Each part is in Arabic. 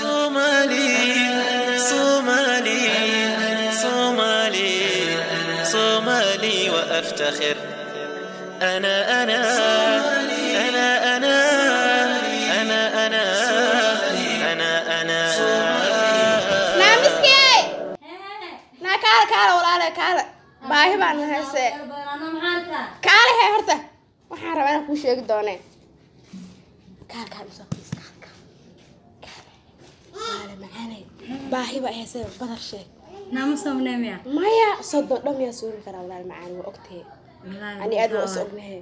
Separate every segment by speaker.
Speaker 1: صومالي صومالي صومالي صومالي وأفتخر أنا أنا أنا أنا أنا أنا أنا أنا
Speaker 2: naamiskey naa kaale kaale walaale kaale baahi baan hayse kaale hee horta waxaan rabaa inaan kuu sheegi doonee kaale kaale usoo fadhiis kaale kaale kaale macaanay baahi baa hayse badar sheeg
Speaker 3: naamasoomneemya
Speaker 2: maya sodon dham yaa suuri karaa walaal macaani waa ogtee ani aad waa
Speaker 3: Oh
Speaker 2: is ognahe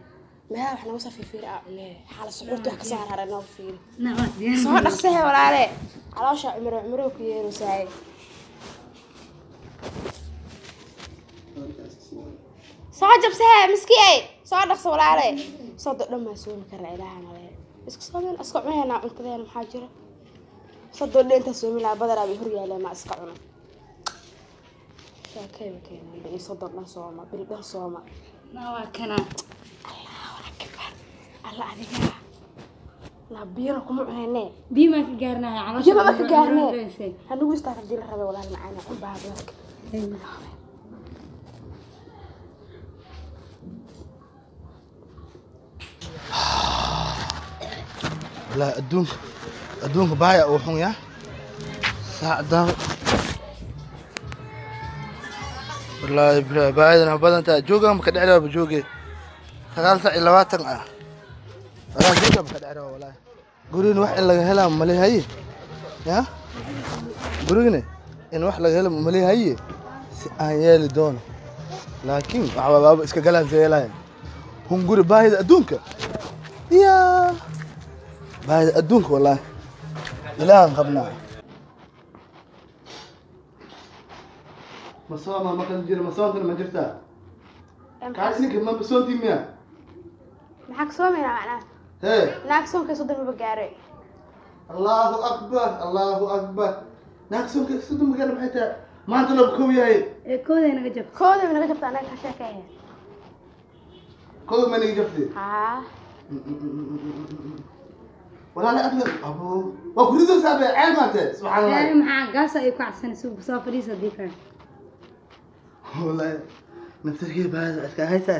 Speaker 2: meelaha wax nooga soo fiirfiiri aa cunee xaala suxuurta wax kasoo harhara nooga fiiri soo dhaqsahe walaale caloosha cumro cumro ku yeelusaaye soo jabsahe miski ay soo dhaqsa walaale soodo dhan baan soomi karaa ilaaha nale isku soomin iska cunaynaa cuntadeena maxaa jira soodo dhan intaa soomi lahaa badalaa bay horyaaleen maa iska cuno sheekeyba keenaan bini soodo dhan sooma bini dhan sooma allahu akbar alla adigaa naabiyana kuma cunayne
Speaker 3: biima ka gaarnaa
Speaker 2: biyo maba ka gaarnee hanagu istaaga dila rabe walaal macaana cunbaa dadka
Speaker 4: la adduunka adduunka baaya uu xun yaa saacdan wallaahi bila baayadan badan taa jooga ma ka dhici raba jooge sagaal saac iyo labaatan ah wallaahi jooga ma ka dhici raba wallaahi guriin wax in laga helaa ma malehaye ya gurigina in wax laga hela ma malehaye si aan yeeli doono laakiin waxba baaba iska galaan se yeelayan hun guri baahida adduunka iyaa baahida adduunka wallaahi ilaahan qabnaa masooma maqal jira masoontana ma jirtaa kaas ninka ma masoontii miya
Speaker 2: maxaa kasoo mina macnaa
Speaker 4: hee
Speaker 2: naagsoonka soddon maba gaare
Speaker 4: allahu akbar allahu akbar naagsoonka soddon magaala maxay tahay maanta laba kow yahay
Speaker 3: kooday naga jabta
Speaker 2: koodaba naga jabta anaga ka sheekeeye
Speaker 4: kow ma niga jabtay
Speaker 2: haa
Speaker 4: walaali adna abo waa kurido saabe ceel maante subxaan
Speaker 3: gaari
Speaker 4: allah
Speaker 3: maxaa gaasa ay ku cadsanaysa soo fadhiisa diifaa
Speaker 4: wallaahi naftarkee baahida adkaa haysaa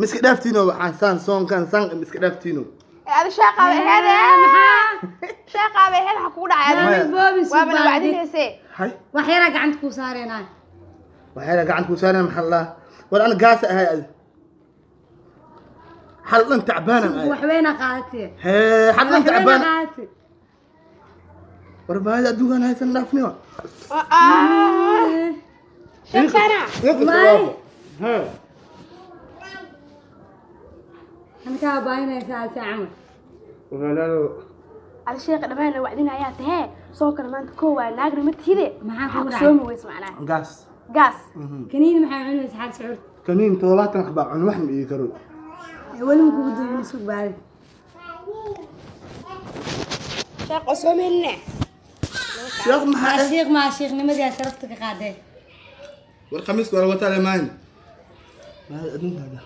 Speaker 4: miska dhaaftiino waxaan saan soonkan saan miska dhaaftiino
Speaker 2: ee adi sheeqaaba aheed ee sheeqaaba aheed waxaa kugu dhacay
Speaker 4: Maya.
Speaker 3: Maalin boobis
Speaker 2: waaba na
Speaker 3: baa
Speaker 2: wacdinayse
Speaker 4: hay
Speaker 3: wax yaraa gacanta ah. kuu saareenaa
Speaker 4: waxayna gacan kuu saareen maxaa laa war ana gaasa ahay adi xadlan tacbaanan ahay
Speaker 3: waxbayna ah qaadati
Speaker 4: hee xadlan
Speaker 3: waxbayna
Speaker 4: tacbaanan
Speaker 3: qaadati
Speaker 4: war baahida adduunkaan haysan dhaafniyo
Speaker 3: Eh,
Speaker 2: sheeqana
Speaker 3: Wallaahi. ankaa baahinaysaa si camal
Speaker 2: adi sheeqa dhamaan na wacdinayaa tahee soo kale maanta koo waa naagna ma tihide
Speaker 3: Maxaa kugu dhacay?
Speaker 2: kusoomi weys macnaa
Speaker 4: gaas
Speaker 2: gaas
Speaker 3: kaniin maxaa cunaysa xaal sucuurta
Speaker 4: kaniin toddobaatan wax baa cun wax ma ii karo
Speaker 3: welin Eh, kugu duubin isku baadi
Speaker 2: sheeq oo soo melinaa
Speaker 4: sheekh maxaa eh
Speaker 3: shiiq maa shiiqnimadiyaa sharafta ka qaadee
Speaker 4: war khamiiska wala wataale maahin baahida adduunkaada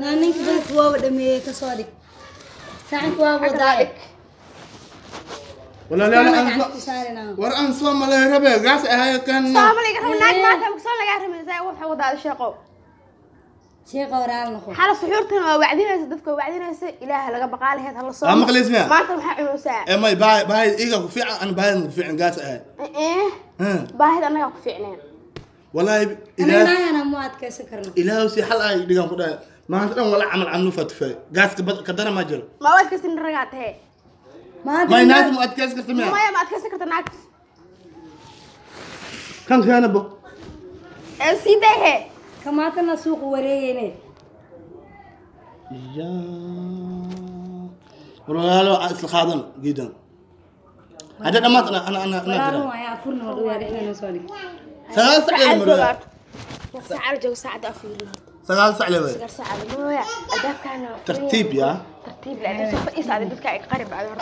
Speaker 3: naa ninka dadka waaba dhameeyey ka soo dhig saxanka waaba wadaadhig
Speaker 4: walaalaala war aan soo malay rabe gaas ahay kan
Speaker 2: soomaliga rabo naag maanta kusoo lagaa ramaysaa waxa wadaada sheeqo
Speaker 3: shiiqa waraal noqo
Speaker 2: xala suxuurtana waa wacdinaysa dadka waa wacdinaysa ilaaha laga baqaa laheyd hala soo
Speaker 4: Waa maqlays miyaa?
Speaker 2: maanta waxaa cunaysaa
Speaker 4: ee may baahid baahid iga ku fiican ana baahid ku fiican gaas ahay
Speaker 2: eh
Speaker 4: haa
Speaker 2: baahida annagaa ku fiicneen
Speaker 4: والله الى
Speaker 3: anagana mu adkaysan karno
Speaker 4: الى وسي حل اي دغان كدا ما انت ولا عمل عملو فتفاي غاس كدنا ما جرى
Speaker 2: ma waad kasin ragaa tahe
Speaker 4: ما
Speaker 3: maanta
Speaker 4: ينادم اتكاس كتميا
Speaker 2: maya ma adkaysan karta naag
Speaker 4: كان كان بو
Speaker 2: ee sii dayhe
Speaker 3: kamaatana suuqa wareegayne
Speaker 4: يا والله لا اصل خادم جدا هذا ما انا انا انا
Speaker 3: walaalun
Speaker 4: انا
Speaker 3: waayaa afurna wadhawaad inayna soo dhig
Speaker 4: ثلاث ساعات مرات
Speaker 2: saacada joogo saacada afiirina
Speaker 4: ثلاث ساعات
Speaker 2: gar saacada mooya adaabkaana
Speaker 4: ترتيب يا
Speaker 2: tartiib leh adii soo fadhiisa adi dadka ay qarib adi hor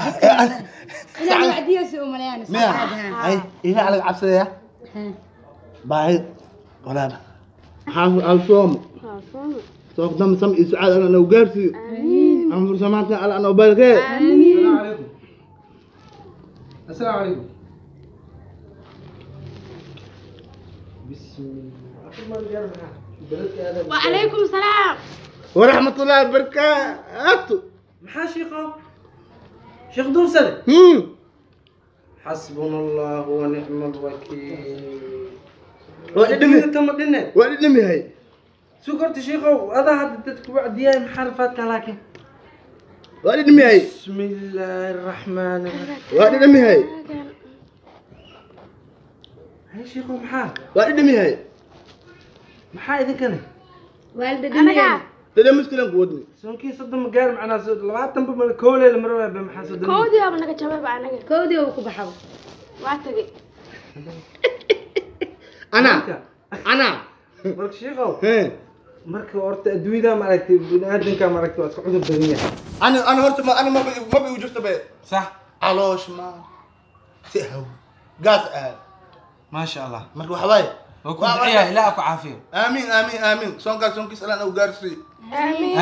Speaker 3: inaa wacdiyasi u malayaan
Speaker 4: ميا هاي الى على عبسه يا باهي ولا حافظ الصوم صوم دم سم اسعاد انا لو جارسي امر سمعت على انا وبالك السلام عليكم بسم الله أكل ما بيعرف معاه. بلدك هذا
Speaker 5: وعليكم السلام
Speaker 4: ورحمة الله وبركاته
Speaker 6: maxaa shiikhow sheekh duursade
Speaker 4: هم.
Speaker 6: xasbuna allahu wa nicma alwakiil
Speaker 4: waa dhidhimi
Speaker 6: tama dhine
Speaker 4: waa dhidhimi yahay
Speaker 6: sug horta shiikhow adaa hadda dadka u cadiyaayo maxaa rafaadka laakiin
Speaker 4: waa dhidhimi yahay
Speaker 6: bismi illaahi araxmaan iraxiim
Speaker 4: waa dhidhimi yahay
Speaker 6: hay shiikhow maxaa
Speaker 4: waa dhidhimi yahay
Speaker 6: maxaa idinkana
Speaker 3: waalida
Speaker 5: anaga
Speaker 3: dhimiyay
Speaker 4: dadee muskilanku wadmi
Speaker 6: soonkii soddon ma gaar macnaa so- labaatanba mala kooleela marwaaba maxaa soddon
Speaker 5: koodii oba naga jabay ba anaga
Speaker 3: koodii uu ku baxaba
Speaker 5: waa tagay
Speaker 4: anaa anaa
Speaker 6: marka shiikhow
Speaker 4: He.
Speaker 6: marka horta adduunyada maaragtay biniaadanka maaragtay waa iska cudur badan yahay
Speaker 4: ana ana horta ma ana maba igu- maba igu jirto be
Speaker 6: sax
Speaker 4: caloosh ma si haw gaas aad
Speaker 6: maasha allah
Speaker 4: marka waxa waaye
Speaker 6: waa ku
Speaker 4: Waa-
Speaker 6: duceeyaa ilaa ku caafiyo
Speaker 4: aamiin aamiin aamiin soonkaas soonkiis alaan au gaarsi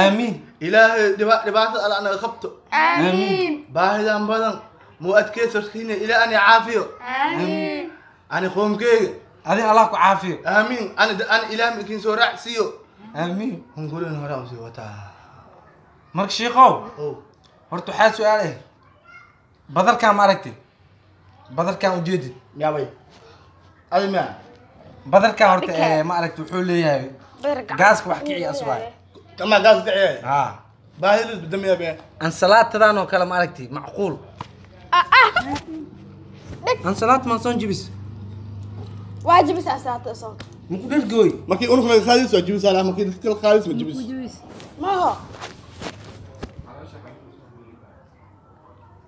Speaker 6: aamiin
Speaker 4: ilaahay dhiba- dhibaatada alaan aga qabto
Speaker 6: aamiin
Speaker 4: baahidan badan muu adkeysarkiina ilaa ani caafiyo
Speaker 6: aamiin
Speaker 4: ani qoomkeyga
Speaker 6: adi allah ku caafiyo
Speaker 4: aamiin ani da- ani ilaah mikiin soo raacsiiyo
Speaker 6: aamiin
Speaker 4: hungurin hore aan sii wataa
Speaker 6: marka shiikow
Speaker 4: ow
Speaker 6: horta waxaa su-aal ah badarkaan ma aragtid badarkaan ujeedid
Speaker 4: yaabay adi mia
Speaker 6: badarkaan horta eh, ma aragti wuxuu leeyahay gaaska wax kiciya aswaay
Speaker 4: amaa gaas daciyay
Speaker 6: ha
Speaker 4: baahidis bedamiya be
Speaker 6: ansalaatadan oo kale ma aragti macquul ansalaat maan soon jibis
Speaker 2: واجب سأساعد أصلا
Speaker 6: muku dhergooy
Speaker 4: markii unugna qaadis waa jibis alaa markii dadkal qaadis ma jibis
Speaker 3: juis
Speaker 2: ما هو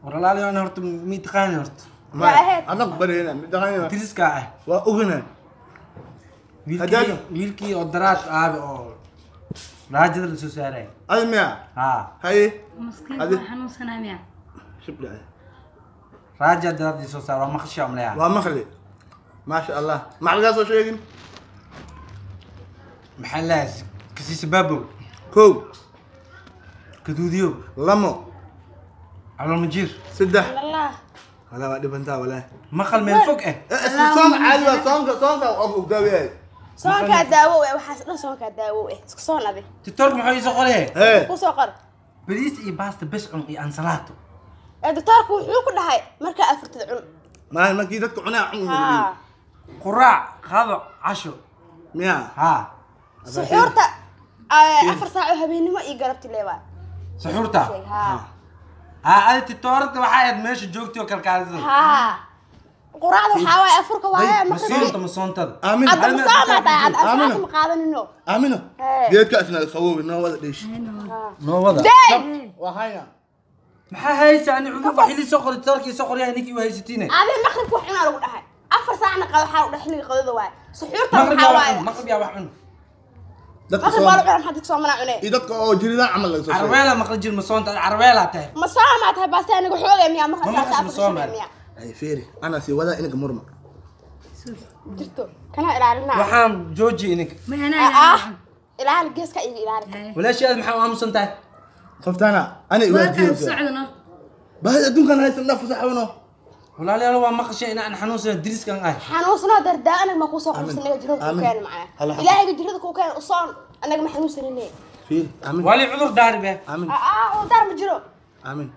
Speaker 6: waralaaliyo ana horta mii taqaani horta
Speaker 4: ma anna ku barayna midaqayna
Speaker 6: diriska ah
Speaker 4: waa ogana
Speaker 6: wiilkii
Speaker 4: Haddana-
Speaker 6: wiilkii oo daraad aabe oo raajada la soo saaray
Speaker 4: adi mia
Speaker 6: ha
Speaker 4: haye
Speaker 3: maskiin
Speaker 4: Adi-
Speaker 3: waa xanuunsanaa miya
Speaker 4: shibda ah.
Speaker 6: raaja daraad la soo saaray waa maqasha umleyaa
Speaker 4: waa maqli maasha allah macalgaas soo sheegin
Speaker 6: maxaa lahaas kasiisa baabow
Speaker 4: kow
Speaker 6: gaduudiyow
Speaker 4: lamo
Speaker 6: caloolmajiir
Speaker 4: saddex
Speaker 2: الله
Speaker 4: walaa waa dhibantaa walaa
Speaker 6: maqal meel fog ah
Speaker 4: isku soon caadi waa soonka soonka oo daawi yahay
Speaker 2: soonkaa daawo eh waxaas dhan soonkaa daawo eh isku soo nadi
Speaker 6: doctor muxuu iisoo qoree
Speaker 4: hee
Speaker 2: ku soo qor
Speaker 6: bariis iyo baasta bes cun iyo ansalaato
Speaker 2: ee Eh, doctorku wuxuu ku dhahay markaa afurtid cun
Speaker 4: maa markii dadka cunaa cun
Speaker 2: haa
Speaker 6: quraac qado casho
Speaker 4: miya
Speaker 6: haa
Speaker 2: suxuurta ee, afar eh, saac oo habeenimo iyo galabti leebaa
Speaker 6: suxuurta
Speaker 2: sheeg haa
Speaker 6: haa adi titoorada waxaa aad meesha joogtay oo kalkaalisada
Speaker 2: haa quraacda waxaa waaye afurka waaye marka
Speaker 6: masoonta masoontada
Speaker 4: aamin
Speaker 2: hadda ma soo maataa aad afraad
Speaker 4: Aamina.
Speaker 2: ma qaadanino
Speaker 4: aamino
Speaker 2: Hee.
Speaker 4: geedka isna qawowi noo wada dhiish
Speaker 6: noowada
Speaker 2: day
Speaker 4: waa hayna
Speaker 6: maxaa haysa ani cudur wax ilii soo qoray titoorkii soo qoryaa ninkii waa haysatiine
Speaker 2: adiga maqribka wax cunaa lagu dhahay afar saacna qado waxaa u dhahay xilliga qadada waaye suxuurta
Speaker 6: maqrib
Speaker 2: waxaa
Speaker 6: yaa
Speaker 2: waaye
Speaker 6: wax cun maqrib yaa wax cun
Speaker 4: dadka
Speaker 2: maqrib
Speaker 4: soo
Speaker 2: waa la cunaa maxaad soo manaa cunee
Speaker 4: iyo dadka oo jiridaan camal laga soo sheegay
Speaker 6: carweela maqli jir masoonta ad carweelaa tahay
Speaker 2: ma soo maataa baase aniga xoogay miyaa marka
Speaker 6: Ma
Speaker 2: saacta
Speaker 6: maqasma
Speaker 2: afurka
Speaker 6: soo
Speaker 2: shabee
Speaker 6: maata.
Speaker 2: miyaa
Speaker 4: ay feeri ana sii wadaa inaga murma
Speaker 2: jirto kana ilaalinaa
Speaker 6: waxaan joojiya ininka
Speaker 3: ma
Speaker 2: Ah,
Speaker 3: anaa
Speaker 2: ah ilaali geeska iga ilaali
Speaker 6: walaashii aad maxaa u aamusan tahay
Speaker 4: qoftaana ana
Speaker 3: warkaan u
Speaker 4: iwaajiyeysa
Speaker 3: socdano
Speaker 4: bahad adduunkan haysan dhaaf saxawno
Speaker 6: walaalayaal waa maqashay inaan xanuunsan diriskan ahay
Speaker 2: xanuunsano dardaa anaga ma kuusoo
Speaker 4: Aamin.
Speaker 2: qabsan anaga jirada kuu
Speaker 4: Aamin.
Speaker 2: keena macana
Speaker 4: Hala xaqo.
Speaker 2: ilaahayga jirada kuu keena usoon anaga ma xanuunsanine
Speaker 4: feeri aamin
Speaker 6: wali cudur daari be
Speaker 4: aamin
Speaker 2: aa oo daar ma jiro
Speaker 4: aamin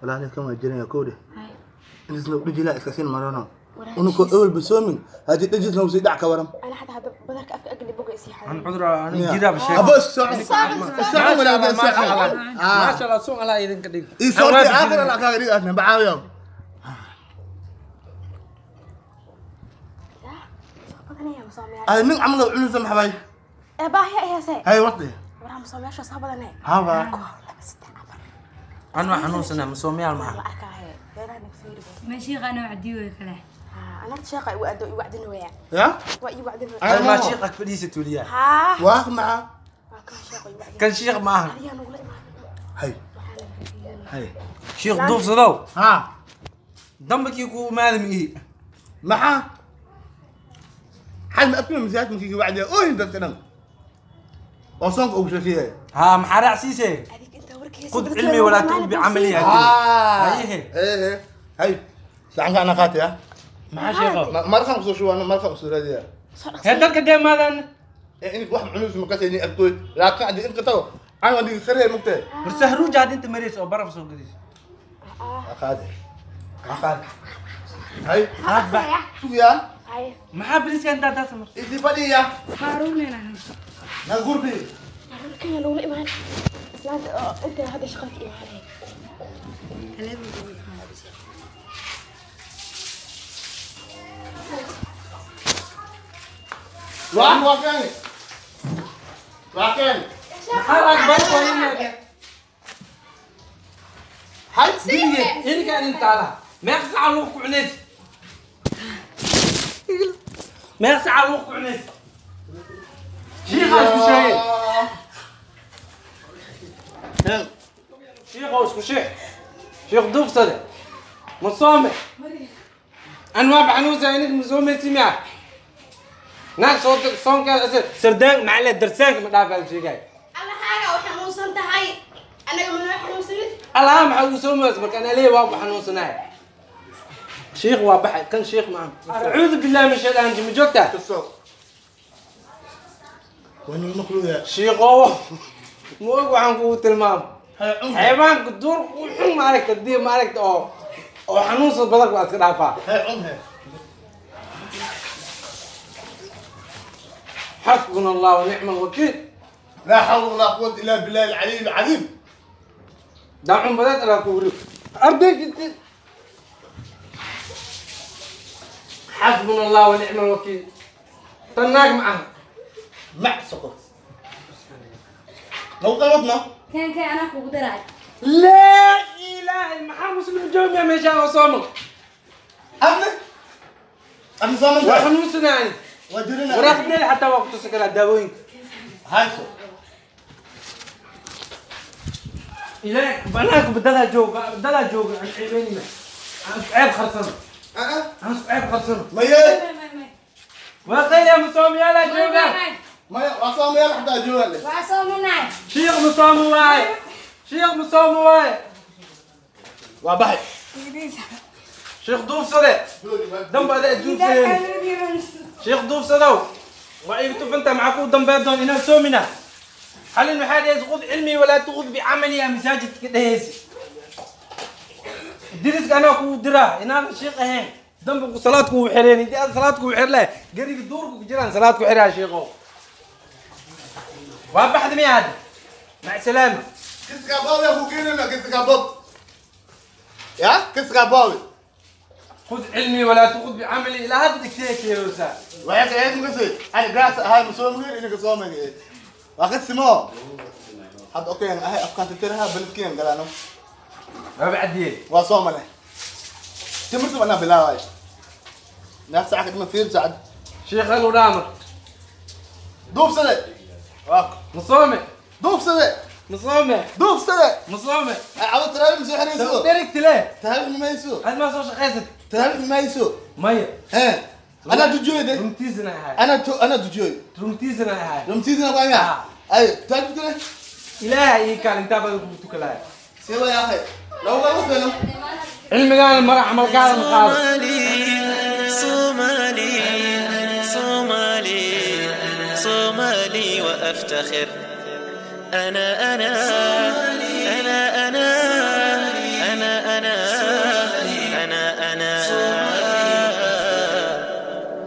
Speaker 4: walaalin kan waa jiraya kow dheh dhisna dhijilaa iska siin marano unuko ewel basoomin haddii dhijisna usii dhac ka waran
Speaker 2: ana xataa haba- badarka afka agli boga isii
Speaker 6: aan
Speaker 2: xanuun
Speaker 6: cudur aan jiraaba sheego
Speaker 4: أبوس ساعة ساعة ولا أبوس ساعة
Speaker 6: ما شاء الله سوء الله يدنك ديك
Speaker 4: إيه صورتي آخر أنا كاري أنا بعاوي
Speaker 2: badanaya masoomiyaa
Speaker 4: أنا من عمله عمله سمح باي
Speaker 2: ee baahiya iheese
Speaker 4: هاي وقتي
Speaker 2: waraa masoomiyaasha saa badanaya
Speaker 4: هذا
Speaker 2: laba saddex afar
Speaker 6: أنا حنوسنا مسومي
Speaker 2: la
Speaker 6: المعهد
Speaker 2: arkaaye beeraha naga fiiri
Speaker 3: ma shiiqaana wacdiyo kale
Speaker 2: anagta sheeqa igu aado igu wacdinooyaa
Speaker 4: يا
Speaker 2: waa ii wacdinooyaa
Speaker 4: أنا
Speaker 6: ما
Speaker 4: ما شيء
Speaker 6: شيخك في ليس توليا
Speaker 2: haa
Speaker 4: واخ معه
Speaker 2: waa kaa sheeqa igu wacdinooyaa
Speaker 6: كان شيخ معهد
Speaker 2: adigaa nagula imaaday
Speaker 4: هاي هاي
Speaker 6: شيخ ضوف صدو
Speaker 4: ها
Speaker 6: دمك يكو مالم إيه
Speaker 4: معه حال ما أكمل مسيات مكيكي بعد أوه أنت تنام وصنك أو شيء
Speaker 6: ها محارع سيسي
Speaker 2: adig intaa warkiisa
Speaker 6: خذ علمي ولا تؤمن بعملي
Speaker 4: آه
Speaker 6: أيه.
Speaker 4: إيه هاي sacanka ana qaati ah Ma- markan kusoo shubaa markan kusoo raadiyaa
Speaker 6: dadka dee maadan
Speaker 4: ee inid wax culus ma kasayni adkoy laakiin haddii in qatabo aan waa dhigi karee mugtee
Speaker 6: barse haruun jaad inta maraysa oo baraf soo gadaysa
Speaker 4: qaadi qaadi hay
Speaker 6: aad bax
Speaker 4: sugiyaa
Speaker 6: maxaa bariska intaa taas mar
Speaker 4: isi fadhiya
Speaker 3: هارون
Speaker 4: na gurbi
Speaker 2: كان لو لقمان سمعت آه، انت هذا شغلك ايه عليك
Speaker 4: waa waa keeni waa keeni
Speaker 6: maxaa raag barfa inaga
Speaker 4: hay
Speaker 6: dilige ilkaan intaala meeqa sacaa lagu kucunaysa meeqa sacaa lagu kucunaysa shiiqaa isku sheegay
Speaker 4: Nen,
Speaker 6: شيخ اسكو شيخ شيخ دوف صدى مصامح انواع بحنوزة انك مزومة سماع ناس صوت صون كذا سردان معلي درسانك ما دافع الشيء جاي
Speaker 7: أنا حاجة وحنوصل تهاي أنا من وحنوصل
Speaker 6: الله ما حد يسوم اسمك انا ليه واضح حنوصنا شيخ واضح كان شيخ معهم اعوذ بالله من الشيطان جم جوتا
Speaker 4: kusoo. Waa nin maqluuya.
Speaker 6: شيخ هو مو عن قوة المام حيوان قدور وحوم عليك تديه مالك او او حنوصل بدك بعد كده عفا
Speaker 4: Hey, cun he.
Speaker 6: حسبنا الله ونعم الوكيل
Speaker 4: Laa xawla walaa quwwata illaa billaahi al-'aliyyil 'azhiim.
Speaker 6: دعم بدات انا كوري ارضي جدا حسبنا الله ونعم الوكيل طناك معاه
Speaker 4: Mac soko. Lagu qabadna.
Speaker 3: كان كان أنا أخو بدرعي
Speaker 6: لا اله الا محمد مسلم جوم يا مشاء وصامر
Speaker 4: Amni. Amni soo martay.
Speaker 6: واحنا مسلم يعني
Speaker 4: Waa jirina.
Speaker 6: وراخدنا حتى وقت سكر الدواوين
Speaker 4: Hay soo.
Speaker 6: الهي بناك بدلها جوج بدلها جوج عن حلمين عن سعيد خرصنا
Speaker 4: Ah, ah.
Speaker 6: عن سعيد خرصنا
Speaker 4: Maye.
Speaker 6: وقيل يا مصوم يا لا جوجا
Speaker 4: Maye. Waa soo maye la xataa joogaa le.
Speaker 6: شيخ مصوم واي شيخ مصوم واي
Speaker 4: Waa baxay.
Speaker 6: شيخ دوف صدق دم بعد أجوز شيخ دوف صدو وعيب تفنت معكم دم بعد دون إنا سومنا هل المحاد يزغض علمي ولا تغض بعملي يا مساجد كده هيسي درس أنا كو درا إنا الشيخ هين دم بقو صلاتكم وحريني دي أنا صلاتكم وحر لا قريب دوركم جيران صلاتكم وحر يا شيخو وابحث مي هذا مع السلامة
Speaker 4: Kiska bawe hukinina kiska bob. Ya? Kiska bawe.
Speaker 6: خذ علمي ولا تغض بعملي إلى هذا تكتيك يا أستاذ
Speaker 4: وياك عيد مقصي انا جالس هاي مسوي مغير انك مسوي مغير واخذ سمو حد اوكي هاي افكار تترها بلتكين قال انا
Speaker 6: ما بعد يد
Speaker 4: واصوم انا تمرت وانا بلا واي ناس ساعه من فيل ساعد
Speaker 6: شيخ الورامر
Speaker 4: دوب سنه واك
Speaker 6: مصومي
Speaker 4: دوب سنه
Speaker 6: مصومي
Speaker 4: دوب سنه
Speaker 6: مصومي
Speaker 4: عبد ترى مسحر
Speaker 6: طب
Speaker 4: يسوق
Speaker 6: ديرك تلاه
Speaker 4: تعرف ما يسوق
Speaker 6: هذا ما صار شخيصك
Speaker 4: تعرف ما يسوق
Speaker 6: مية
Speaker 4: ايه انا تجويد
Speaker 6: رمتيزنا هاي
Speaker 4: انا تو انا تجويد
Speaker 6: رمتيزنا هاي
Speaker 4: رمتيزنا قايمه اي تعرف كده
Speaker 6: إلهي إيه كان انت بدك تقول كلاي
Speaker 4: سوى يا اخي لو غلطت انا
Speaker 6: علم قال المرأة عمل قال مقال
Speaker 1: صومالي صومالي صومالي صومالي وافتخر انا انا انا انا انا انا انا انا